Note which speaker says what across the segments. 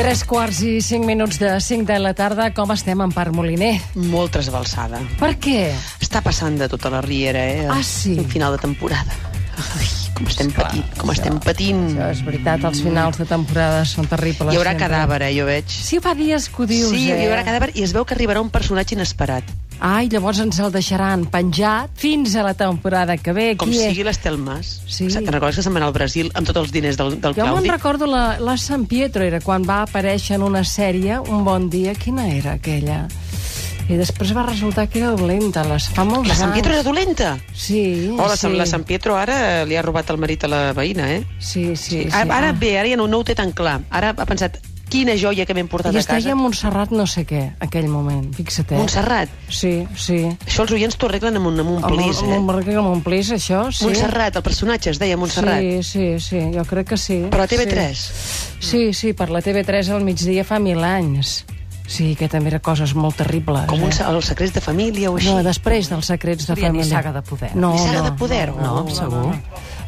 Speaker 1: Tres quarts i cinc minuts de cinc de la tarda. Com estem en Parc Moliner?
Speaker 2: Molt trasbalsada.
Speaker 1: Per què?
Speaker 2: Està passant de tota la riera, eh?
Speaker 1: Ah, sí?
Speaker 2: En final de temporada. Ai, com estem patint, com estem patint.
Speaker 1: Això és veritat, els finals de temporada són terribles.
Speaker 2: Mm. Hi haurà
Speaker 1: sempre.
Speaker 2: cadàver, eh, jo veig.
Speaker 1: Sí, fa dies que ho dius,
Speaker 2: sí,
Speaker 1: eh?
Speaker 2: hi haurà cadàver i es veu que arribarà un personatge inesperat.
Speaker 1: Ai, llavors ens el deixaran penjat fins a la temporada que ve.
Speaker 2: Com
Speaker 1: Qui és?
Speaker 2: sigui l'Estel Mas.
Speaker 1: Sí.
Speaker 2: Te'n recordes que se'n va anar al Brasil amb tots els diners del, del
Speaker 1: Jo me'n
Speaker 2: Claudi?
Speaker 1: recordo la, la San Pietro, era quan va aparèixer en una sèrie, un bon dia, quina era aquella? I després va resultar que era dolenta, les fa molts
Speaker 2: La Sant
Speaker 1: anys.
Speaker 2: Pietro era dolenta.
Speaker 1: Sí,
Speaker 2: Oh, la,
Speaker 1: sí.
Speaker 2: Sant, la Sant Pietro ara li ha robat el marit a la veïna, eh?
Speaker 1: Sí, sí, sí.
Speaker 2: Ara, ara
Speaker 1: Ah.
Speaker 2: bé, ara ja no, no ho té tan clar. Ara ha pensat, quina joia que m'hem portat
Speaker 1: I
Speaker 2: a
Speaker 1: es deia
Speaker 2: casa.
Speaker 1: Montserrat no sé què, aquell moment, fixa't. Eh?
Speaker 2: Montserrat.
Speaker 1: Sí, sí.
Speaker 2: Això els oients t'ho arreglen amb un, amb un plis, eh?
Speaker 1: Amb, amb, amb un plis, això, sí.
Speaker 2: Montserrat, el personatge es deia Montserrat.
Speaker 1: Sí, sí, sí, jo crec que sí.
Speaker 2: Però a TV3.
Speaker 1: Sí. Sí, sí, per la TV3 al migdia fa mil anys. Sí, que també era coses molt terribles.
Speaker 2: Com un,
Speaker 1: eh?
Speaker 2: se- el secret de família o així.
Speaker 1: No, després dels secrets de
Speaker 3: Seria ni
Speaker 1: família.
Speaker 3: Saga de Poder.
Speaker 1: No,
Speaker 2: Ni Saga
Speaker 1: no,
Speaker 2: de Poder, oh.
Speaker 1: No,
Speaker 2: o-
Speaker 1: no, no segur.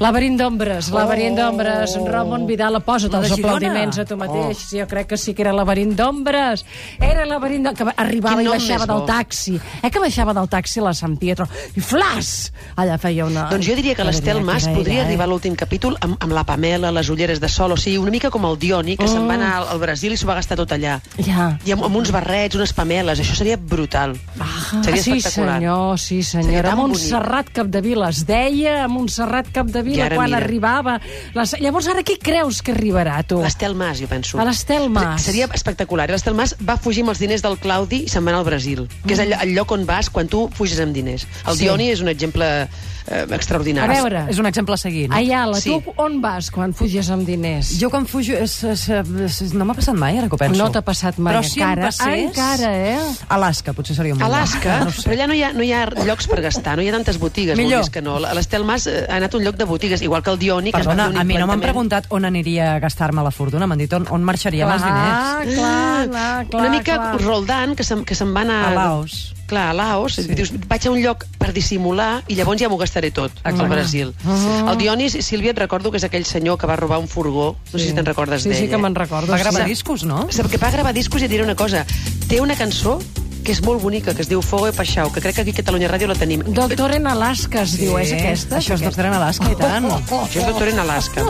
Speaker 1: Laberint d'ombres, laberint d'ombres.
Speaker 2: Oh.
Speaker 1: Ramon Vidal, posa't
Speaker 3: La de
Speaker 1: els
Speaker 3: Girona.
Speaker 1: aplaudiments a tu mateix. Sí, jo crec que sí que era laberint d'ombres. Era laberint d'ombres, que arribava
Speaker 2: Quin
Speaker 1: i
Speaker 2: nom
Speaker 1: baixava
Speaker 2: més bo.
Speaker 1: del taxi. Eh, que baixava del taxi la Sant Pietro. I flas! Allà feia una...
Speaker 2: Doncs jo diria que l'Estel
Speaker 1: Madre mia,
Speaker 2: Mas
Speaker 1: que
Speaker 2: podria
Speaker 1: gaire, eh?
Speaker 2: arribar a l'últim capítol amb, amb la Pamela, les ulleres de sol, o sigui, una mica com el Dioni, que se'n va
Speaker 1: Mm.
Speaker 2: anar al, al Brasil i s'ho va gastar tot allà.
Speaker 1: Ja.
Speaker 2: I amb, amb uns barrets, unes pameles, això seria brutal.
Speaker 1: Ah,
Speaker 2: seria
Speaker 1: sí,
Speaker 2: espectacular.
Speaker 1: senyor, sí,
Speaker 2: Seria
Speaker 1: senyora.
Speaker 2: tan
Speaker 1: Montserrat Capdevila es deia, Montserrat
Speaker 2: I
Speaker 1: Capdevila,
Speaker 2: ara
Speaker 1: quan
Speaker 2: mira.
Speaker 1: arribava. Les... Llavors, ara qui creus que arribarà, tu?
Speaker 2: L'Estel Mas, jo penso.
Speaker 1: A l'Estel Mas.
Speaker 2: Seria espectacular. I L'Estel Mas va fugir amb els diners del Claudi i se'n va anar al Brasil, que és el, el lloc on vas quan tu fuges amb diners. El
Speaker 1: Mm. Sí.
Speaker 2: Dioni és un exemple eh,
Speaker 1: A
Speaker 2: extraordinari.
Speaker 1: veure,
Speaker 3: És un exemple a seguir. No?
Speaker 1: Ayala,
Speaker 2: Sí.
Speaker 1: sí. tu on vas quan fuges amb diners?
Speaker 3: Jo quan fujo... És, és, és, és, no m'ha passat mai, ara que ho penso.
Speaker 1: No t'ha passat mai,
Speaker 3: Però si
Speaker 1: encara. Ah,
Speaker 3: Em passés,
Speaker 1: Encara, eh?
Speaker 3: Alaska, potser seria un bon
Speaker 2: Alaska,
Speaker 3: lloc. eh?
Speaker 2: no sé. però allà no hi, ha, no hi ha llocs per gastar, no hi ha tantes botigues,
Speaker 3: Millor.
Speaker 2: vulguis que no. L'Estel Mas eh, ha anat a un lloc de botigues, igual que el Dioni, que
Speaker 3: Perdona,
Speaker 2: es va fer un
Speaker 3: a mi no m'han
Speaker 2: implantament.
Speaker 3: preguntat on aniria a gastar-me la fortuna, m'han dit on, on marxaria amb els diners.
Speaker 1: clar, clar, clar.
Speaker 2: Mm, Una mica
Speaker 1: clar.
Speaker 2: Roldán, que se'n que se'n va anar...
Speaker 3: A Laos.
Speaker 2: Clar, a Laos. Sí. Dius, vaig a un lloc per dissimular i llavors ja m'ho gastaré tot,
Speaker 3: Exacte.
Speaker 2: al Brasil. El Dionis, Sílvia, et recordo que és aquell senyor que va robar un furgó, no sé si te'n recordes
Speaker 1: Sí,
Speaker 2: d'ell.
Speaker 1: sí que
Speaker 2: eh?
Speaker 1: me'n recordo.
Speaker 3: Va gravar
Speaker 1: sí.
Speaker 3: discos, no?
Speaker 2: Sap que va gravar discos i et diré una cosa. Té una cançó que és molt bonica, que es diu Fogo e Paixau, que crec que aquí a Catalunya Ràdio la tenim.
Speaker 1: Doctor en Alaska es sí. diu, és aquesta?
Speaker 3: Això és Doctor en Alaska, i tant.
Speaker 2: Això és Doctor en Alaska.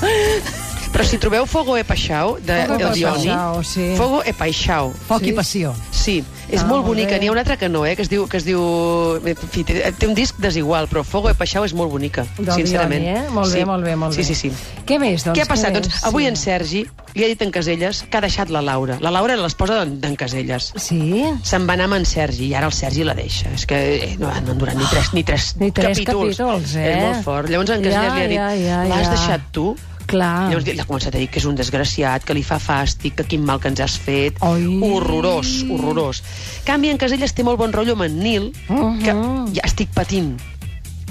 Speaker 2: Però si trobeu Fogo e Paixau, de,
Speaker 1: Fogo e
Speaker 2: del Dioni...
Speaker 1: Paixau, sí.
Speaker 2: Fogo e Paixau.
Speaker 3: Foc i passió.
Speaker 2: Sí, és
Speaker 1: Ah,
Speaker 2: molt
Speaker 1: molt
Speaker 2: bonica.
Speaker 1: bé.
Speaker 2: N'hi ha una altra que no, eh, que es diu... Que es diu... eh, En fi, té, té un disc desigual, però Fogo e Paixau és molt bonica,
Speaker 1: Del
Speaker 2: sincerament.
Speaker 1: Dioni, eh? Molt bé, molt bé, molt bé.
Speaker 2: Sí, sí, sí.
Speaker 1: Què més, doncs?
Speaker 2: Què ha passat?
Speaker 1: més?
Speaker 2: Doncs avui
Speaker 1: Sí.
Speaker 2: en Sergi li ha dit en Caselles que ha deixat la Laura. La Laura era l'esposa d'en d'en Caselles.
Speaker 1: Sí?
Speaker 2: Se'n va anar amb en Sergi i ara el Sergi la deixa. És que eh, no, no han durat ni tres, ni tres,
Speaker 1: Ni tres capítols, eh?
Speaker 2: És molt fort. Llavors en Caselles
Speaker 1: Ja,
Speaker 2: li ha dit,
Speaker 1: ja, ja,
Speaker 2: l'has
Speaker 1: ja." Ah.
Speaker 2: deixat tu?
Speaker 1: Clar.
Speaker 2: Llavors li- l'ha començat a dir que és un desgraciat, que li fa fàstic, que quin mal que ens has fet.
Speaker 1: Ai.
Speaker 2: Horrorós, horrorós. Canvi, en Caselles té molt bon rotllo amb en Nil, que
Speaker 1: Uh-huh.
Speaker 2: ja estic patint.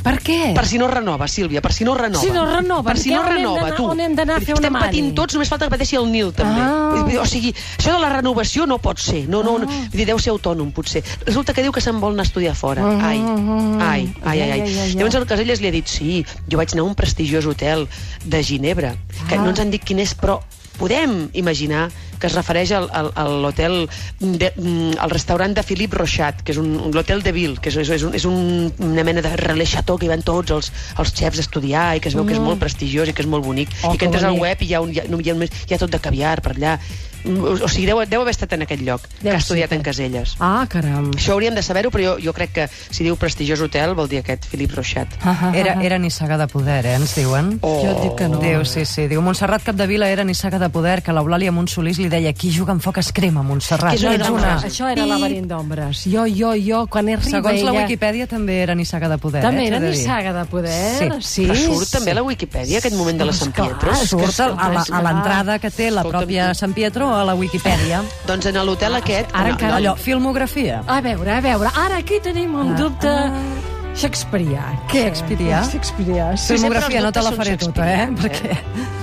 Speaker 1: Per què?
Speaker 2: Per si no renova, Sílvia, per si no renova.
Speaker 1: Si no renova,
Speaker 2: per si
Speaker 1: què?
Speaker 2: no
Speaker 1: On hem
Speaker 2: renova,
Speaker 1: d'anar-
Speaker 2: tu.
Speaker 1: on hem d'anar a fer una
Speaker 2: Estem
Speaker 1: mani?
Speaker 2: patint tots, només falta que pateixi el Nil, també.
Speaker 1: Ah.
Speaker 2: Vull dir, O sigui, això de la renovació no pot ser. No, no, no. Vull dir, deu ser autònom, potser. Resulta que diu que se'n vol anar a estudiar fora.
Speaker 1: Ah,
Speaker 2: Ai,
Speaker 1: ah,
Speaker 2: ai, ai, ai.
Speaker 1: ja,
Speaker 2: ai.
Speaker 1: ja, ja, ja.
Speaker 2: Llavors el Caselles li ha dit, sí, jo vaig anar a un prestigiós hotel de Ginebra, que
Speaker 1: Ah.
Speaker 2: no ens han dit quin és, però podem imaginar que es refereix al, al, a l'hotel de- mm, al restaurant de Philippe Rochat, que és un, un l'hotel de Ville, que és, és, és, un, és un, una mena de relais chateau que hi van tots els, els xefs a estudiar i que es veu que és molt prestigiós i que és molt bonic.
Speaker 1: Mm. Oh, que
Speaker 2: I que entres al
Speaker 1: bonic.
Speaker 2: web i hi ha, un, hi, ha, hi, ha, només- hi ha tot de caviar per allà. Mm, O, o sigui, deu, deu haver estat en aquest lloc, deu que
Speaker 1: Deu
Speaker 2: ha
Speaker 1: ser
Speaker 2: estudiat
Speaker 1: que-
Speaker 2: en Caselles.
Speaker 1: Ah, caram.
Speaker 2: Això hauríem de saber-ho, però jo, jo crec que si diu prestigiós hotel vol dir aquest Philippe Rochat.
Speaker 3: Era, era ni saga de poder, eh, ens diuen.
Speaker 1: Oh. Jo et dic que no.
Speaker 3: Déu, sí, sí. Diu, Montserrat Capdevila era ni saga de poder, que l'Eulàlia Montsolís li deia qui juga amb foc es crema, Montserrat.
Speaker 2: Que és
Speaker 1: No,
Speaker 2: una
Speaker 1: ets
Speaker 2: gran
Speaker 1: una...
Speaker 2: frase.
Speaker 1: Això era laberint d'ombres. Jo, jo, jo, quan arriba
Speaker 3: Segons la
Speaker 1: ella...
Speaker 3: Viquipèdia també era ni saga de poder.
Speaker 1: També
Speaker 3: eh,
Speaker 1: era
Speaker 3: t'he de
Speaker 1: ni
Speaker 3: dir.
Speaker 1: saga de poder.
Speaker 3: Sí.
Speaker 1: Sí,
Speaker 2: Però surt
Speaker 1: sí.
Speaker 2: també a la Wikipedia aquest moment de la Sant Pietro.
Speaker 1: és que
Speaker 3: Surt a a la-
Speaker 1: és
Speaker 3: a l'entrada que té la
Speaker 2: Escolta'm
Speaker 3: pròpia
Speaker 2: tu.
Speaker 3: Sant Pietro a la Viquipèdia.
Speaker 2: Doncs en l'hotel aquest...
Speaker 1: Ara encara-
Speaker 3: Allò, filmografia.
Speaker 1: A veure, a veure, ara aquí tenim
Speaker 3: Ah,
Speaker 1: un dubte shakespearià. Què?
Speaker 3: Shakespearià?
Speaker 1: Shakespearià, sí.
Speaker 2: Sí, sempre els
Speaker 3: Filmografia no te la
Speaker 2: dubtes
Speaker 3: faré
Speaker 2: són
Speaker 3: tota, eh?
Speaker 2: Shakespeare,
Speaker 3: Perquè...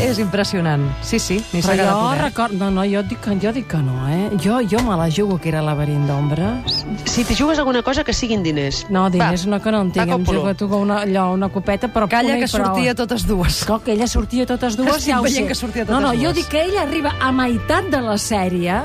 Speaker 3: És impressionant. Sí, sí, ni s'ha
Speaker 1: Però
Speaker 3: quedat
Speaker 1: jo
Speaker 3: poder.
Speaker 1: record... No, no, jo dic, que, jo dic que no, eh? Jo, jo me la jugo que era laberint d'ombres.
Speaker 2: Si t'hi jugues alguna cosa, que siguin diners.
Speaker 1: No, diners
Speaker 2: Va,
Speaker 1: no que no en tinc.
Speaker 2: va,
Speaker 1: Em
Speaker 2: Còpolo.
Speaker 1: jugo a tu com una, allò, una copeta, però
Speaker 3: Calla
Speaker 1: pura i
Speaker 3: que
Speaker 1: prou.
Speaker 3: sortia totes dues.
Speaker 1: Escolta, que ella sortia totes dues,
Speaker 3: Estic
Speaker 1: ja ho
Speaker 3: veient
Speaker 1: sé.
Speaker 3: que sortia
Speaker 1: no,
Speaker 3: totes
Speaker 1: no, jo
Speaker 3: dues.
Speaker 1: dic que ella arriba a meitat de la sèrie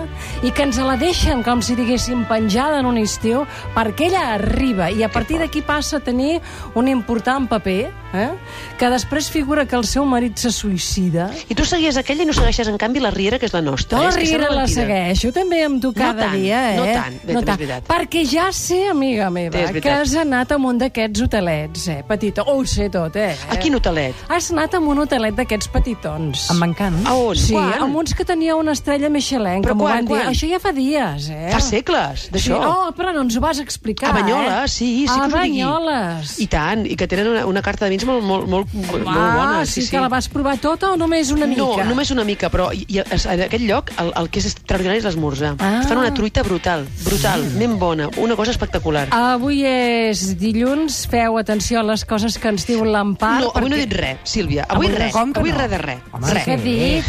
Speaker 1: i que ens la deixen, com si diguéssim, penjada en un estiu, perquè ella arriba i a partir d'aquí passa a tenir un important paper, eh? que després figura que el seu marit se suïcida.
Speaker 2: I tu seguies aquella i no segueixes, en canvi, la Riera, que és la nostra. eh?
Speaker 1: Jo la
Speaker 2: És que sembla
Speaker 1: Riera la
Speaker 2: mentida.
Speaker 1: segueixo, també em tu
Speaker 2: No
Speaker 1: cada
Speaker 2: tant,
Speaker 1: dia, eh?
Speaker 2: no tant. Bé, també és veritat.
Speaker 1: Perquè ja sé, amiga
Speaker 2: Bé,
Speaker 1: meva,
Speaker 2: és
Speaker 1: que
Speaker 2: veritat.
Speaker 1: has anat a un d'aquests hotelets, eh, petitó. Ho sé tot, eh?
Speaker 2: A quin hotelet?
Speaker 1: Has anat a un hotelet d'aquests petitons.
Speaker 3: Em m'encant.
Speaker 2: A on?
Speaker 1: Sí,
Speaker 2: quan?
Speaker 1: amb uns que tenia una estrella Michelin,
Speaker 2: Però
Speaker 1: que m'ho
Speaker 2: quan,
Speaker 1: van dir.
Speaker 2: quan?
Speaker 1: Això ja fa dies, eh?
Speaker 2: Fa segles,
Speaker 1: Sí.
Speaker 2: d'això.
Speaker 1: Oh, però no ens ho vas explicar,
Speaker 2: A Banyoles,
Speaker 1: eh?
Speaker 2: sí, sí que
Speaker 1: a
Speaker 2: us ho digui.
Speaker 1: Banyoles.
Speaker 2: I tant, i que tenen una, una carta de vins molt, molt, molt, molt bona.
Speaker 1: ah, sí, que la vas provar tota o només una mica?
Speaker 2: No, només una mica, però i, i en aquest lloc el, el que és extraordinari és l'esmorzar.
Speaker 1: Ah.
Speaker 2: Fan una truita brutal, brutal, ben bona, una cosa espectacular.
Speaker 1: Avui és dilluns, feu atenció a les coses que ens diu l'Empar.
Speaker 2: no, avui no he
Speaker 1: perquè-
Speaker 2: dit res, Sílvia. Avui,
Speaker 3: Avui no,
Speaker 2: res,
Speaker 3: com que
Speaker 2: avui
Speaker 3: no?
Speaker 2: res de res.
Speaker 3: Home,
Speaker 2: res.
Speaker 1: Què he
Speaker 2: eh.
Speaker 1: dit?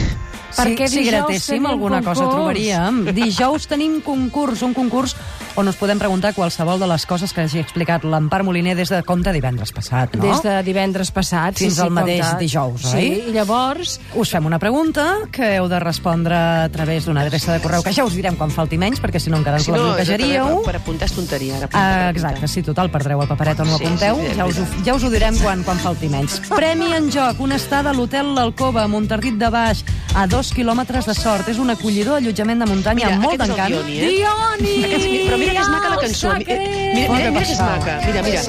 Speaker 1: Perquè
Speaker 3: si, si
Speaker 1: dijous
Speaker 3: gratéssim
Speaker 1: tenim
Speaker 3: alguna cosa
Speaker 1: concurs.
Speaker 3: trobaríem. Dijous tenim concurs, un concurs on us podem preguntar qualsevol de les coses que hagi explicat l'Empar Moliner des de compte divendres passat, no?
Speaker 1: Des de divendres passat.
Speaker 3: Fins
Speaker 1: sí, sí,
Speaker 3: al mateix
Speaker 1: compte.
Speaker 3: dijous,
Speaker 1: sí,
Speaker 3: oi?
Speaker 1: I llavors,
Speaker 3: Us fem una pregunta que heu de respondre a través d'una adreça de correu, que ja us direm quan falti menys, perquè si no encara ens
Speaker 2: Si
Speaker 3: la
Speaker 2: no,
Speaker 3: bloquejaríeu.
Speaker 2: exactament, per apuntar és tonteria. Ara, apuntar,
Speaker 3: Ah,
Speaker 2: apuntar.
Speaker 3: exacte, sí, total, perdreu el paperet on ho
Speaker 2: Sí, sí,
Speaker 3: apunteu.
Speaker 2: sí, és
Speaker 3: ja, us ho, ja us ho direm quan, quan falti menys. Premi en joc, una estada a l'hotel L'Alcova, a Montardit de Baix, a dos quilòmetres de sort. És un acollidor allotjament de muntanya
Speaker 2: Mira,
Speaker 3: amb molt
Speaker 2: aquest és el
Speaker 3: d'encant.
Speaker 2: Dioni, eh?
Speaker 1: Dioni!
Speaker 2: Aquest, mira, però mira que és maca la cançó. Mi- eh, Mira, mira, mira que és maca. Mira, mira.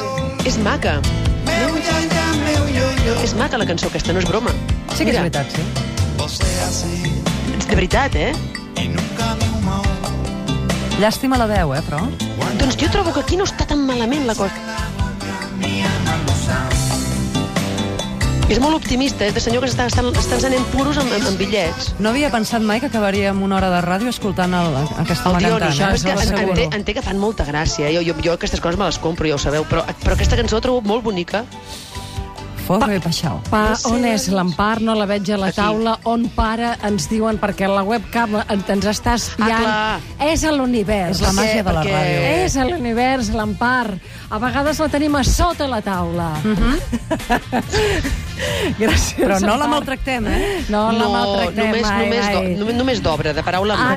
Speaker 2: És maca. És maca la cançó aquesta, no és broma.
Speaker 3: Sí que és
Speaker 2: mira,
Speaker 3: veritat, sí.
Speaker 2: De veritat, eh?
Speaker 3: Llàstima la veu, eh, però.
Speaker 2: Doncs jo trobo que aquí no està tan malament la cosa. És molt optimista, és de senyor que s'està estan, estan encenent puros amb, amb, amb bitllets.
Speaker 3: No havia pensat mai que acabaríem una hora de ràdio escoltant el,
Speaker 2: El
Speaker 3: aquesta home
Speaker 2: Dioni,
Speaker 3: cantant.
Speaker 2: això
Speaker 3: eh?
Speaker 2: és que
Speaker 3: us ho
Speaker 2: en, en, té,
Speaker 3: asseguro.
Speaker 2: en té que fan molta gràcia. eh? Jo, jo, jo aquestes coses me les compro, ja ho sabeu, però, però aquesta cançó la trobo molt bonica.
Speaker 3: Forro i peixau.
Speaker 1: Pa, on és l'Empar? No la veig a la
Speaker 2: Aquí.
Speaker 1: taula. On para? Ens diuen perquè la webcam en- ens està espiant.
Speaker 2: Ah,
Speaker 1: és a l'univers. Eh.
Speaker 3: És la màgia de la
Speaker 2: perquè-
Speaker 3: ràdio.
Speaker 1: És a l'univers, l'Empar. A vegades la tenim a sota la taula. Mm -hmm. Gràcies,
Speaker 3: Però no la
Speaker 1: Empar.
Speaker 3: maltractem, eh?
Speaker 1: No, la maltractem.
Speaker 2: només,
Speaker 1: ai,
Speaker 2: només,
Speaker 1: ai.
Speaker 2: do- només, només d'obra, de paraula.
Speaker 1: Ah,